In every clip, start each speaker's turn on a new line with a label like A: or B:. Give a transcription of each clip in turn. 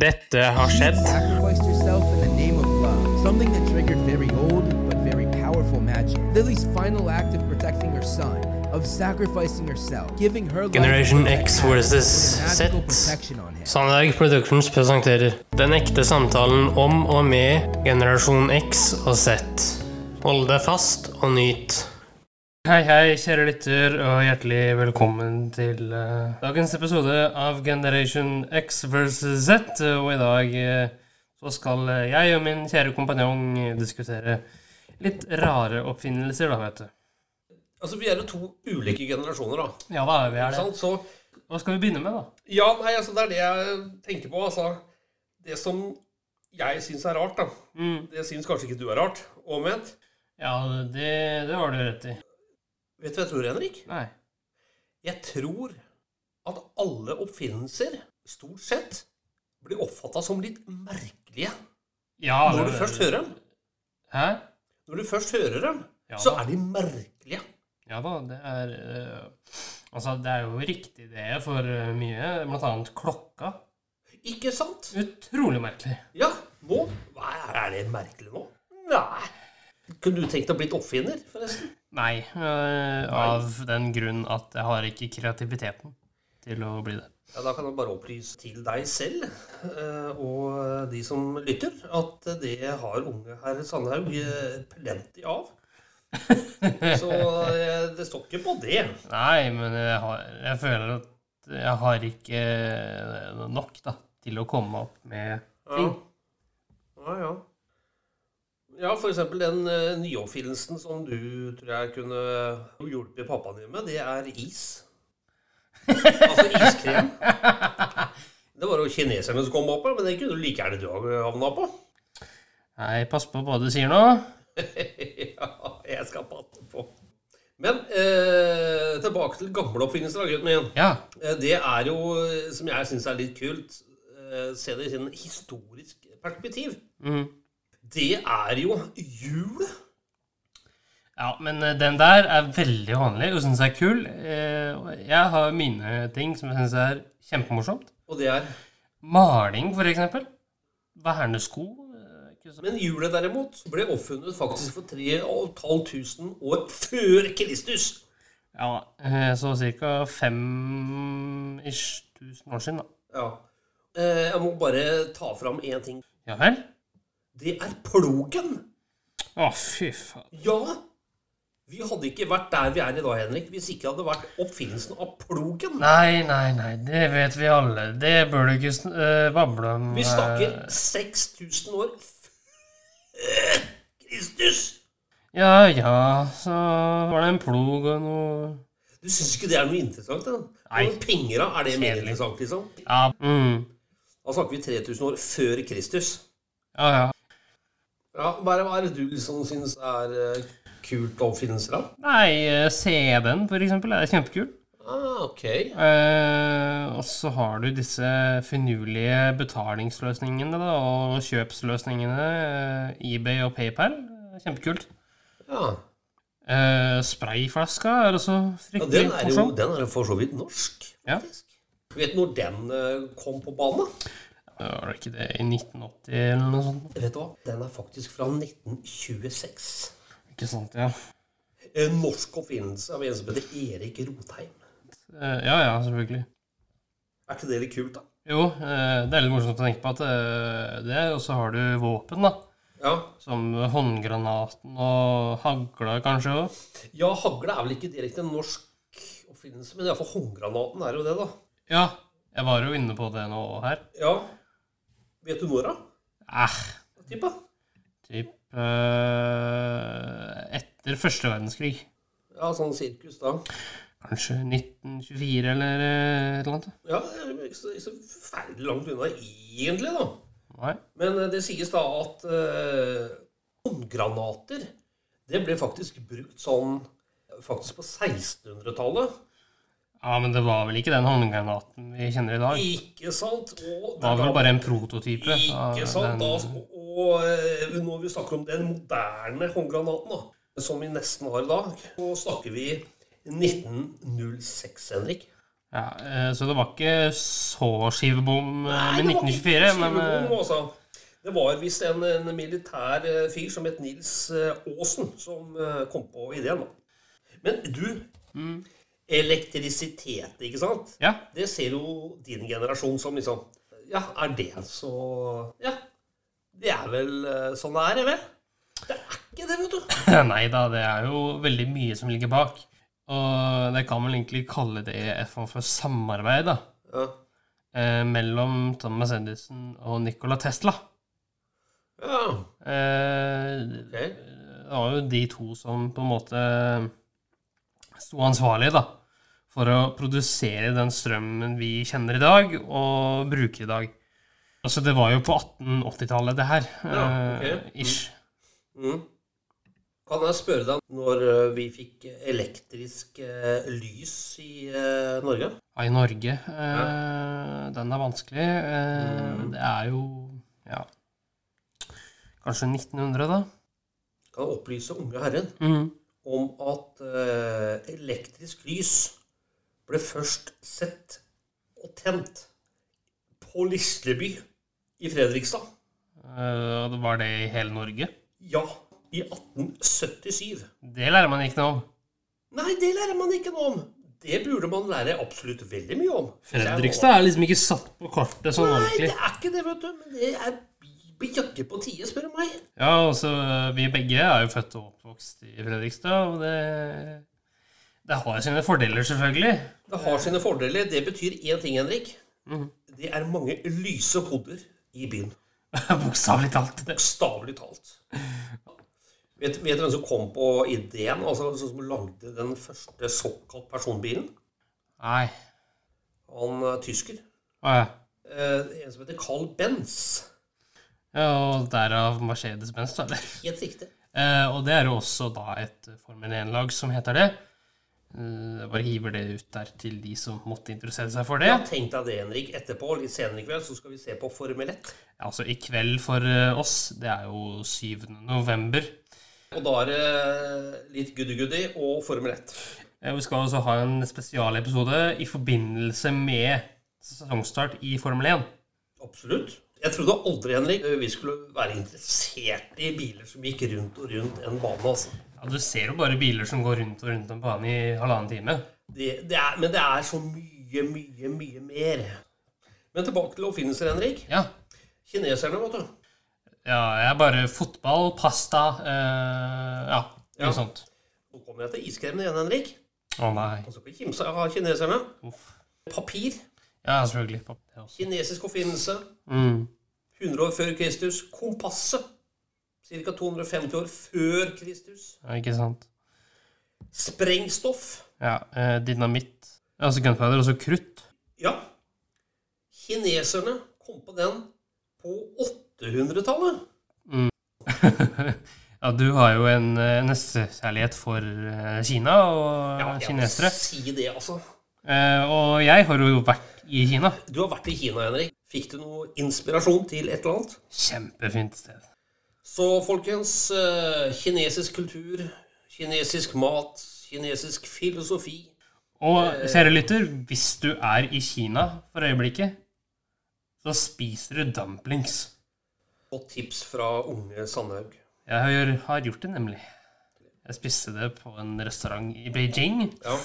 A: Dette har skjedd.
B: Sacrificed herself in the name of love, something that triggered very old but very powerful magic. Lily's final act of protecting her son, of sacrificing herself, giving her life
A: Generation
B: away,
A: X versus
B: with
A: Z.
B: magical protection on him.
A: Sandberg Productions presenterer Den ekte samtalen om og med generasjon X og Z. Hold deg fast og nyt. Hei, hei, kjære lytter, og hjertelig velkommen til eh, dagens episode av Generation X versus Z. Og i dag eh, så skal eh, jeg og min kjære kompanjong diskutere litt rare oppfinnelser, da, vet du.
C: Altså, Vi er jo to ulike generasjoner, da.
A: Ja da, vi
C: Ikke
A: er det.
C: sant? Så,
A: Hva skal vi begynne med, da?
C: ja, nei, altså, Det er det jeg tenker på. altså. Det som jeg syns er rart, da.
A: Mm.
C: Det syns kanskje ikke du er rart. Omvendt.
A: Ja, det, det har du rett i.
C: Vet du hva jeg tror, Henrik?
A: Nei.
C: Jeg tror at alle oppfinnelser stort sett blir oppfatta som litt merkelige
A: Ja,
C: når
A: det-
C: du først hører dem.
A: Hæ?
C: Når du først hører dem,
A: Ja,
C: så
A: da.
C: er de merkelige.
A: Ja da, det er eh, Altså, det er jo riktig det for eh, mye, blant annet klokka.
C: Ikke sant?
A: Utrolig merkelig.
C: Ja, nå Hva er er det merkelig nå? Nei. Kunne du tenkt deg å bli oppfinner, forresten?
A: Nei, eh, av den grunn at jeg har ikke kreativiteten til å bli det.
C: Ja, Da kan jeg bare opplyse til deg selv eh, og de som lytter, at det har unge herr Sandhaug eh, plenty av. Så eh, det står ikke på det.
A: Nei, men jeg, har, jeg føler at jeg har ikke eh, nok, da, til å komme opp med
C: Ja,
A: ting.
C: ja. ja. ja for eksempel den eh, nyoppfinnelsen som du tror jeg kunne hjulpet pappaen din med, det er is. Altså iskrem. Det var jo kineserne som kom opp med, men det kunne du like gjerne du havna på.
A: Nei, pass på hva du sier nå.
C: ja, jeg skal passe på. Men eh, tilbake til gamle oppfinnelser, da, gutten min.
A: Ja.
C: Eh, Det er jo, eh, som jeg syns er litt kult, eh, se det i sin historisk perspektiv.
A: Mm.
C: Det er jo hjul.
A: Ja, men eh, den der er veldig vanlig og syns jeg er kul. Eh, og Jeg har mine ting som jeg syns er kjempemorsomt.
C: Og det er
A: Maling, for eksempel. Vernesko. eh, ikke så-
C: Men hjulet, derimot, ble oppfunnet faktisk for 3500 år før Kristus.
A: Ja, eh, så ca. fem ish tusen år siden, da.
C: Ja. Eh, jeg må bare ta fram én ting.
A: Ja vel?
C: Det er plogen.
A: Å, fy faen.
C: Ja, vi hadde ikke vært der vi er i dag, Henrik, hvis ikke hadde vært oppfinnelsen av plogen.
A: Nei, nei, nei, det vet vi alle. Det bør du ikke sn- eh, bable om.
C: Vi
A: eh.
C: snakker 6000 år før Kristus!
A: Ja ja, så var det en plog og noe
C: Du syns ikke det er noe interessant? da?
A: Nei.
C: Når penger av, er det mer
A: Kjedelig.
C: interessant, liksom?
A: Ja. Mm.
C: Da snakker vi 3000 år før Kristus.
A: Ja ja.
C: Ja, Hva er hva er det du liksom syns er eh, kult oppfinnelser, da?
A: Nei, eh, CD-en, for eksempel, er kjempekul.
C: Ah, ok.
A: Eh, og så har du disse finurlige betalingsløsningene da, og kjøpsløsningene. eh, eBay og PayPal. Kjempekult.
C: Ja.
A: Eh, sprayflaska er også
C: ja
A: fryktelig
C: den, er jo,
A: morsom.
C: den er jo for så vidt norsk,
A: Ja.
C: faktisk. Vet du når den eh, kom på banen?
A: Var det ikke det i 1980 eller noe sånt?
C: Vet du hva? Den er faktisk fra 1926.
A: Ikke sant, ja.
C: En norsk oppfinnelse av en som heter Erik Rotheim.
A: Eh, ja ja, selvfølgelig.
C: Er ikke det litt kult, da?
A: Jo, eh, det er litt morsomt å tenke på at eh, det, og så har du våpen, da.
C: Ja.
A: Som håndgranaten og hagla, kanskje òg.
C: ja, hagle er vel ikke direkte en norsk oppfinnelse, men iallfall håndgranaten er jo det, da.
A: Ja, jeg var jo inne på det nå her.
C: Ja. Vet du når, da?
A: Eh,
C: Tippa?
A: Typ eh, etter første verdenskrig.
C: Ja, sånn sirkus, da.
A: Kanskje 1924 eller eh, et eller annet.
C: Ja, det er ikke så, ikke så forferdelig langt unna egentlig, da.
A: Nei.
C: Men eh, det sies da at eh, håndgranater det ble faktisk brukt sånn faktisk på 1600-tallet.
A: Ja, men det var vel ikke den håndgranaten vi kjenner i dag.
C: Ikke sant? Og
A: Det var vel bare en prototype. av
C: Ikke sant?
A: den-
C: Da, og eh, når vi snakker om den moderne håndgranaten, da, som vi nesten har i dag, så snakker vi 1906, Henrik.
A: Ja, eh, så det var ikke så skivebom eh,
C: Nei,
A: med
C: det var ikke
A: 1924, men
C: skivebom,
A: eh,
C: altså. Det var visst en, en militær eh, fyr som het Nils eh, Aasen som eh, kom på ideen. da. Men du
A: Mm.
C: Elektrisitet, ikke sant?
A: Ja.
C: Det ser jo din generasjon som liksom Ja, er det så Ja. Det er vel eh, sånn det er, eller? Det er ikke det, vet du.
A: Nei da, det er jo veldig mye som ligger bak. Og det kan vel egentlig kalle det et form for samarbeid, da.
C: Ja,
A: Eh, mellom Thomas Edison og Nikola Tesla.
C: ja
A: Eh,
C: ok.
A: det var jo de to som på en måte sto ansvarlige da, for å produsere den strømmen vi kjenner i dag, og bruker i dag. Altså, det var jo på 1880-tallet, det her.
C: Ja, ok.
A: eh, Ish.
C: Mm. Kan jeg spørre deg når eh, vi fikk elektrisk eh, lys i eh, Norge?
A: Ja, I Norge. Eh, Den er vanskelig. Eh,
C: Mm.
A: Det er jo ja, kanskje 1900, da.
C: Kan jeg opplyse unge herren om at eh, elektrisk lys ble først sett og tent på Lisleby i Fredrikstad.
A: Eh, og det var det i hele Norge?
C: Ja, i 1877.
A: Det lærer man ikke noe om.
C: Nei, det lærer man ikke noe om. Det burde man lære absolutt veldig mye om.
A: Fredrikstad er liksom ikke satt på kortet sånn
C: Nei, det
A: ordentlig.
C: er ikke det, vet du. Men det er bi- bi- jakke på tide, spør du meg.
A: Ja, altså, vi begge er jo født og oppvokst i Fredrikstad, og det, det har sine fordeler, selvfølgelig.
C: Det har sine fordeler. Det betyr én ting, Henrik.
A: Mhm.
C: Det er mange lyse hoder i byen.
A: Bokstavelig talt.
C: Bokstavelig talt. Vet, vet du hvem som kom på ideen, altså som lagde den første såkalt personbilen?
A: Nei.
C: Han er tysker.
A: Å ja.
C: Eh, en som heter Carl Benz.
A: Ja, og derav Mercedes-Benz, da. eller?
C: Helt riktig.
A: Eh, og det er jo også da et Formel 1-lag som heter det. Eh, Jeg bare hiver det ut der til de som måtte interessere seg for det.
C: Ja, tenk deg det, Henrik. Etterpå, litt senere i kveld, så skal vi se på Formel 1.
A: Altså, i kveld for eh, oss, det er jo 7. november.
C: Og da er det litt goody-goody og Formel 1.
A: Eh, Vi skal også ha en spesialepisode i forbindelse med sesongstart i Formel 1.
C: Absolutt. Jeg trodde aldri Henrik, vi skulle være interessert i biler som gikk rundt og rundt en bane. altså.
A: Ja, du ser jo bare biler som går rundt og rundt en bane i halvannen time.
C: Det, det er, men det er så mye, mye, mye mer. Men tilbake til oppfinnelser, Henrik.
A: Ja.
C: Kineserne, vet du.
A: ja jeg er bare fotball, pasta eh, Ja, noe
C: Ja.
A: sånt.
C: Nå kommer jeg til iskremen igjen, Henrik.
A: Å nei.
C: Og så kan kimse av kineserne.
A: Uff.
C: Papir.
A: Ja, selvfølgelig. Det også.
C: Kinesisk oppfinnelse.
A: Mm.
C: 100 år før Kristus. Kompasset. Ca. 250 år før Kristus.
A: Ja, ikke sant.
C: Sprengstoff.
A: Ja, eh, dynamitt. Altså gunpowder, og så krutt.
C: Ja. Kineserne kom på den på 800-tallet.
A: Ja, du har jo en eh, nestekjærlighet for eh, Kina og
C: Ja, jeg må
A: kinesere.
C: Si det, altså.
A: Eh, og jeg har jo vært i Kina.
C: Du har vært i Kina, Henrik. Fikk du noe inspirasjon til et eller annet?
A: Kjempefint sted.
C: Så folkens, eh, kinesisk kultur, kinesisk mat, kinesisk filosofi
A: Og kjære lytter, hvis du er i Kina for øyeblikket, så spiser du dumplings.
C: og tips fra unge Sandhaug.
A: Jeg har, har gjort det, nemlig. Jeg spiste det på en restaurant i Beijing
C: Ja.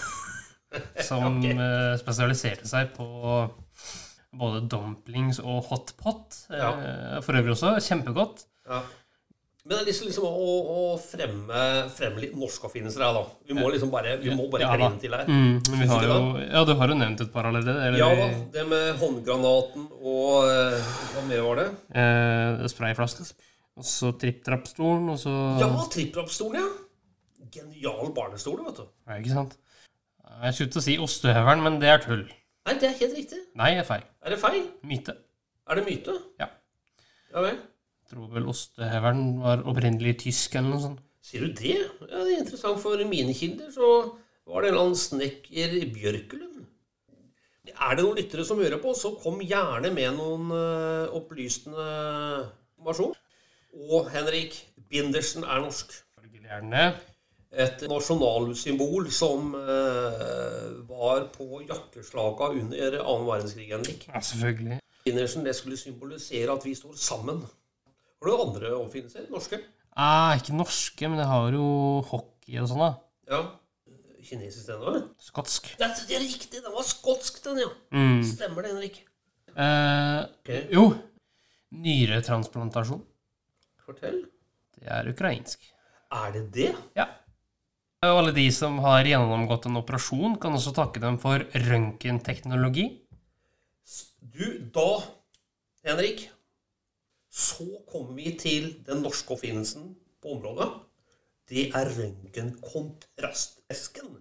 A: som eh, spesialiserte seg på både dumplings og hot pot. eh,
C: Ja.
A: For øvrig også. Kjempegodt.
C: ja. Men jeg har lyst til liksom å, å fremme, fremme litt norske oppfinnelser her, da. Vi må liksom bare, vi må bare
A: Ja, da.
C: kline til her.
A: Mm, men vi
C: Syns
A: har
C: du
A: jo, ja, du har jo nevnt et par allerede. Eller,
C: Ja da, det med håndgranaten og eh, Hva mer var det?
A: eh, sprayflaske. Og så tripp-trapp-stolen, og så
C: Ja, trippelhoppstolen, ja. Genial barnestol, vet du.
A: Ja, ikke sant? Jeg sluttet å si ostehøvelen, men det er tull.
C: Nei, det er helt riktig.
A: Nei, jeg er feil.
C: Er det feil?
A: Myte.
C: Er det myte?
A: Ja.
C: Ja vel.
A: Jeg tror vel ostehøvelen var opprinnelig tysk eller noe sånt.
C: Sier du det? Ja, det er interessant. For mine kilder så var det en eller annen snekker i Bjørkelund. Er det noen lyttere som hører på, så kom gjerne med noen eh, opplysende informasjon. Og Henrik, bindersen er norsk.
A: Selvfølgelig er den det.
C: et nasjonalsymbol som eh, var på jakkeslaga under annen verdenskrig, Henrik.
A: Ja, selvfølgelig.
C: Innersen, det skulle symbolisere at vi står sammen. Har du andre oppfinnelser? Norske?
A: Ah, ikke norske, men jeg har jo hockey og sånn, da.
C: Ja. Kinesisk, den òg?
A: Skotsk.
C: Det er det er riktig! Den var skotsk, den, ja.
A: Mm.
C: Stemmer det, Henrik. Mm.
A: Eh,
C: Ok.
A: Jo. Nyretransplantasjon.
C: Fortell.
A: Det er ukrainsk.
C: Er det det?
A: Ja. Og alle de som har gjennomgått en operasjon, kan også takke dem for røntgenteknologi.
C: Du, da, Henrik, så kommer vi til den norske oppfinnelsen på området. Det er røntgenkontrastesken.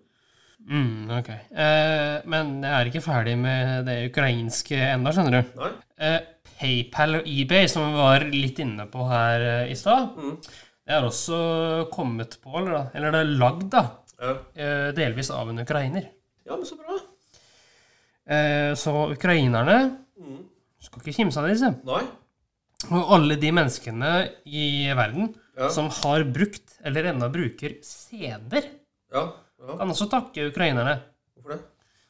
A: Mm, ok. Eh, men jeg er ikke ferdig med det ukrainske enda, skjønner du.
C: Nei?
A: Eh, PayPal og eBay, som vi var litt inne på her eh, i stad,
C: Mm.
A: det er også kommet på, eller, da, eller det er lagd, da,
C: Ja.
A: eh, delvis av en ukrainer.
C: ja, men så bra.
A: Eh, så ukrainerne
C: Mm.
A: skal ikke kimse av disse.
C: Nei?
A: Og alle de menneskene i verden
C: Ja.
A: som har brukt, eller ennå bruker, CD-er,
C: Ja. ja.
A: kan også takke ukrainerne.
C: Hvorfor det?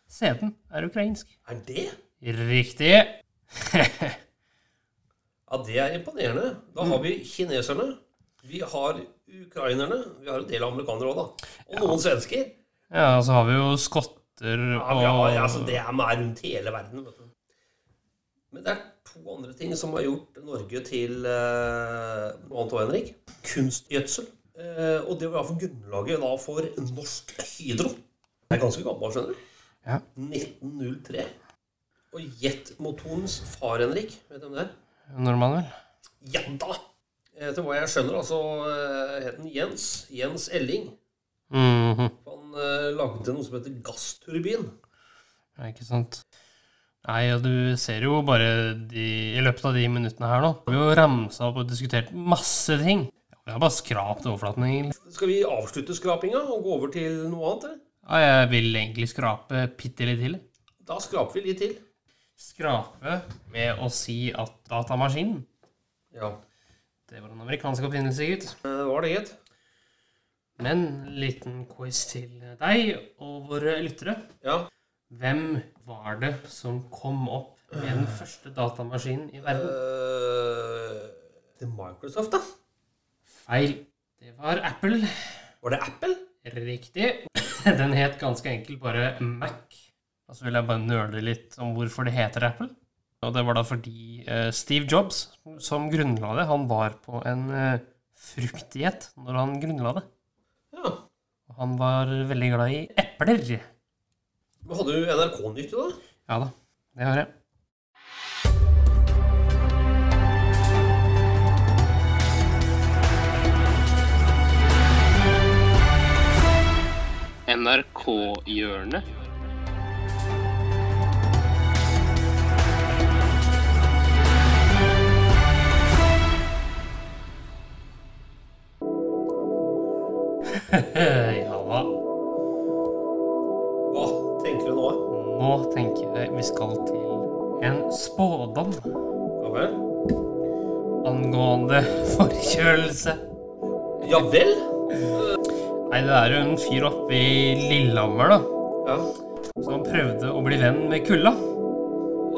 A: CD-en er ukrainsk.
C: Er det?
A: Riktig.
C: Ja, det er imponerende. Da
A: Mm.
C: har vi kineserne, vi har ukrainerne, vi har en del amerikanere òg, da. Og noen svensker.
A: ja, og så har vi jo skotter
C: Ja,
A: og
C: vi har, altså, det er med rundt hele verden. Vet du. Men det er to andre ting som har gjort Norge til eh, noe annet òg, Henrik. Kunstgjødsel. Eh, og det var iallfall grunnlaget da for Norsk Hydro. Det er ganske gammel, skjønner du.
A: Ja.
C: 1903. Og jetmotorens far, Henrik. Vet du hvem det er?
A: Nordmann, vel?
C: Ja da! Etter hva jeg skjønner, altså eh, het han Jens. Jens Elling.
A: Mhm.
C: Han eh, lagde noe som heter gassturbin.
A: Ja, ikke sant. Nei, og du ser jo bare de, i løpet av de minuttene her nå Vi har jo ramsa opp og diskutert masse ting. Vi har bare skrapt overflaten, egentlig.
C: Skal vi avslutte skrapinga og gå over til noe annet? Eller?
A: Ja, jeg vil egentlig skrape bitte litt til.
C: Da skraper vi litt til.
A: Skrape med å si at datamaskinen
C: Ja.
A: Det var en amerikansk oppfinnelse, gitt.
C: Var Eh, det gitt?
A: Men liten quiz til deg og våre lyttere.
C: Ja.
A: Hvem var det som kom opp med den første datamaskinen i verden?
C: Eh, det er Microsoft, da.
A: Feil. Det var Apple.
C: Var det Apple?
A: Riktig. Den het ganske enkelt bare Mac. Og så vil jeg bare nøle litt om hvorfor det heter Apple. Og det var da fordi eh, Steve Jobs, som grunnla det, han var på en eh, fruktdiett når han grunnla det.
C: Ja.
A: Og han var veldig glad i epler.
C: Men hadde du NRK-nytt da?
A: Ja da, det har jeg. NRK-hjørnet. ja da.
C: Hva tenker du nå?
A: Nå tenker jeg vi skal til en spådom
C: Ja vel?
A: angående forkjølelse.
C: Ja vel?
A: Nei, det er jo en fyr oppe i Lillehammer, da.
C: Ja.
A: Som prøvde å bli venn med kulda.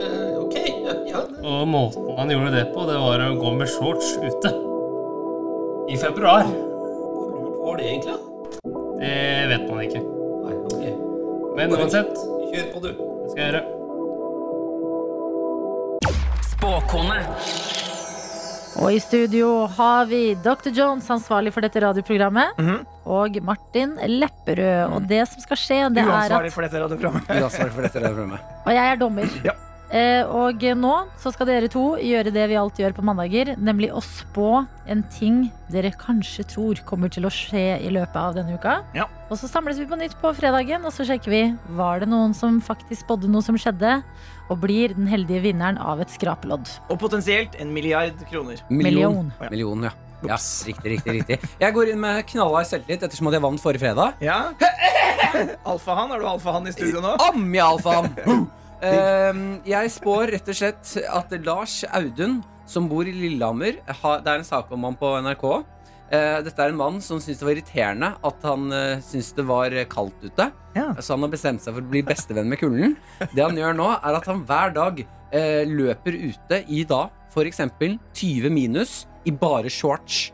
C: Eh, ok. Ja, ja. det-
A: Og måten han gjorde det på, det var å gå med shorts ute. I februar.
C: Hvor lurt var det egentlig? da?
A: Det vet man ikke.
C: Nei, ok.
A: Men uansett, det
C: Kjør på, du.
A: skal jeg gjøre.
D: Spåkone.
E: Og i studio har vi Dr. Jones, ansvarlig for dette radioprogrammet,
F: Mhm.
E: og Martin Lepperød. Og det som skal skje, det er
F: Uansvarlig
E: at
F: for dette radioprogrammet.
G: Du er ansvarlig for dette programmet.
E: Og jeg er dommer.
F: Ja.
E: Eh, og nå så skal dere to gjøre det vi alltid gjør på mandager, nemlig å spå en ting dere kanskje tror kommer til å skje i løpet av denne uka.
F: Ja.
E: Og så samles vi på nytt på fredagen, og så sjekker vi var det noen som faktisk spådde noe som skjedde, og blir den heldige vinneren av et skrapelodd.
F: Og potensielt en milliard kroner.
E: Million.
F: Ja.
G: Million, ja. ja. Riktig, riktig. riktig Jeg går inn med knallhard selvtillit ettersom at jeg vant forrige fredag.
F: Ja. Alfahann, har du alfahann i studio nå?
G: Amja, alfaen! Ehm, jeg spår rett og slett at Lars Audun, som bor i Lillehammer har, Det er en sak om han på NRK. Eh, Dette er en mann som syntes det var irriterende at han eh, syntes det var kaldt ute.
F: Ja.
G: Så han har bestemt seg for å bli bestevenn med kulden. Det han gjør nå, er at han hver dag eh, løper ute i da f.eks. 20 minus i bare shorts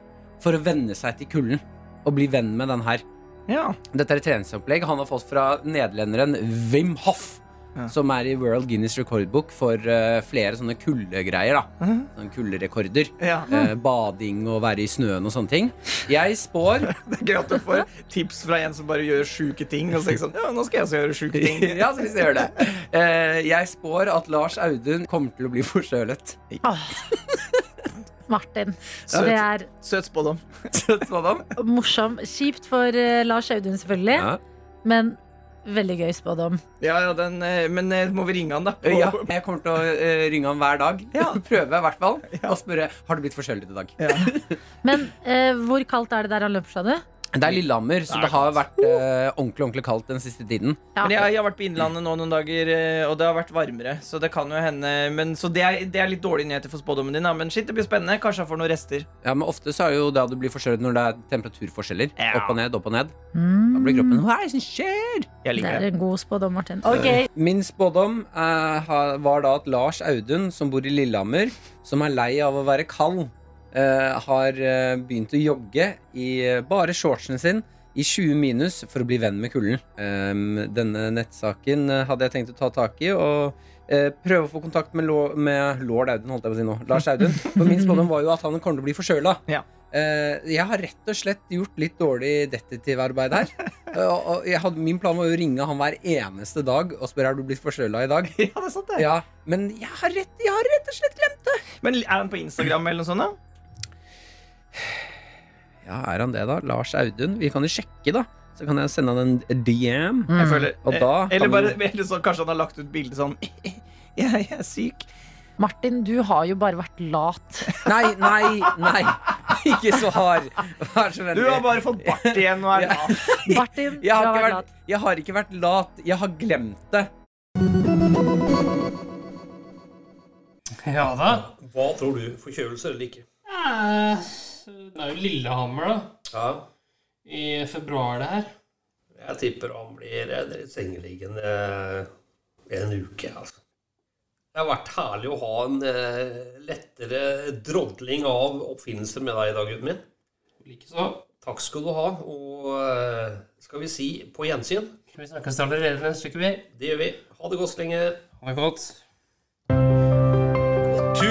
G: for å venne seg til kulden og bli venn med den her.
F: Ja.
G: Dette er et treningsopplegg han har fått fra nederlenderen Wim Hoff.
F: Ja.
G: Som er i World Guinness rekordbok for eh, flere sånne kuldegreier. da
F: Mhm.
G: Sånne Kulderekorder.
F: ja.
G: Eh, bading og være i snøen og sånne ting. Jeg spår
F: Det er gøy at du får tips fra en som bare gjør sjuke ting. Og så er det sånn, ja, nå skal jeg også gjøre sjuke ting
G: Ja, så hvis jeg gjør det. Eh, jeg spår at Lars Audun kommer til å bli forkjølet.
E: Martin.
F: Søt.
E: Det er
F: Søt spådom.
G: Sådan.
E: morsom. Kjipt for eh, Lars Audun, selvfølgelig,
G: Ja.
E: men veldig gøy spådom.
F: Ja, ja, den, eh, men eh, må vi ringe han, da?
G: Ja, jeg kommer til å eh, ringe ham hver dag.
F: Ja.
G: Prøve, i hvert fall. Og spørre har du blitt forkjølet i dag.
F: Ja.
E: Men eh, hvor kaldt er det der han løper, sa du?
G: Det er Lillehammer, så det har
F: altså.
G: vært eh, ordentlig ordentlig kaldt den siste tiden.
E: Ja.
F: Men jeg, jeg har vært på Innlandet nå noen dager, eh, og det har vært varmere. Så det kan jo hende men, Så det er, det er litt dårlige nyheter for spådommen din, da. Men shit, det blir spennende. Kanskje han får noen rester.
G: Ja, Men ofte så er det jo da du blir forkjølet når det er temperaturforskjeller.
F: Ja.
G: Opp og ned, opp og ned.
E: Mm,
G: Da blir kroppen Hva er det som skjer?
F: Jeg
E: det
F: liker det.
E: er en god spådom, Martin. Ok,
G: Min spådom eh, ha- var da at Lars Audun, som bor i Lillehammer, som er lei av å være kald, eh, har eh, begynt å jogge i eh, bare shortsen sin i 20 minus for å bli venn med kulden. Em, denne nettsaken eh, hadde jeg tenkt å ta tak i og eh, prøve å få kontakt med, lo med lord Audun, holdt jeg på å si nå. Lars Audun. For min spådom var jo at han kommer til å bli forkjøla.
F: Ja.
G: Eh, jeg har rett og slett gjort litt dårlig detektivarbeid her. Eh, og- og jeg hadde, min plan var jo å ringe han hver eneste dag og spørre har du blitt forkjøla i dag.
F: Ja, det er sant, det.
G: Ja, Men jeg har rett, jeg har rett og slett glemt det!
F: Men er han på Instagram eller noe sånt, da?
G: Ja, Er han det, da? Lars Audun? Vi kan jo sjekke, da. Så kan jeg sende han en DM.
F: Jeg føler,
G: Og da
F: eh, eller,
G: kan
F: bare,
G: vi-
F: eller så kanskje han har lagt ut bilde sånn jeg, jeg er syk.
E: Martin, du har jo bare vært lat.
G: Nei, nei, nei! Ikke så hard. Vær så
F: Du har
G: vennlig.
F: bare fått bart igjen og er
G: Ja.
F: lat.
E: Martin, du
G: Jeg
E: har
G: har,
E: vært
G: ikke vært,
E: lat.
G: jeg har ikke vært lat. Jeg har glemt det.
A: Ja da.
C: Hva tror du? Forkjølelse eller ikke?
A: Eh, Det er jo Lillehammer, da.
C: Ja,
A: I februar, det her.
C: jeg tipper han blir eh, sengeliggende eh, en uke, altså. Det har vært herlig å ha en eh, lettere drodling av oppfinnelser med deg i dag, gutten min.
A: Likeså.
C: Takk skal du ha, og eh, skal vi si på gjensyn?
A: Vi snakkes allerede en stykke, vi.
C: Det gjør vi. Ha det godt så lenge.
A: Ha det godt.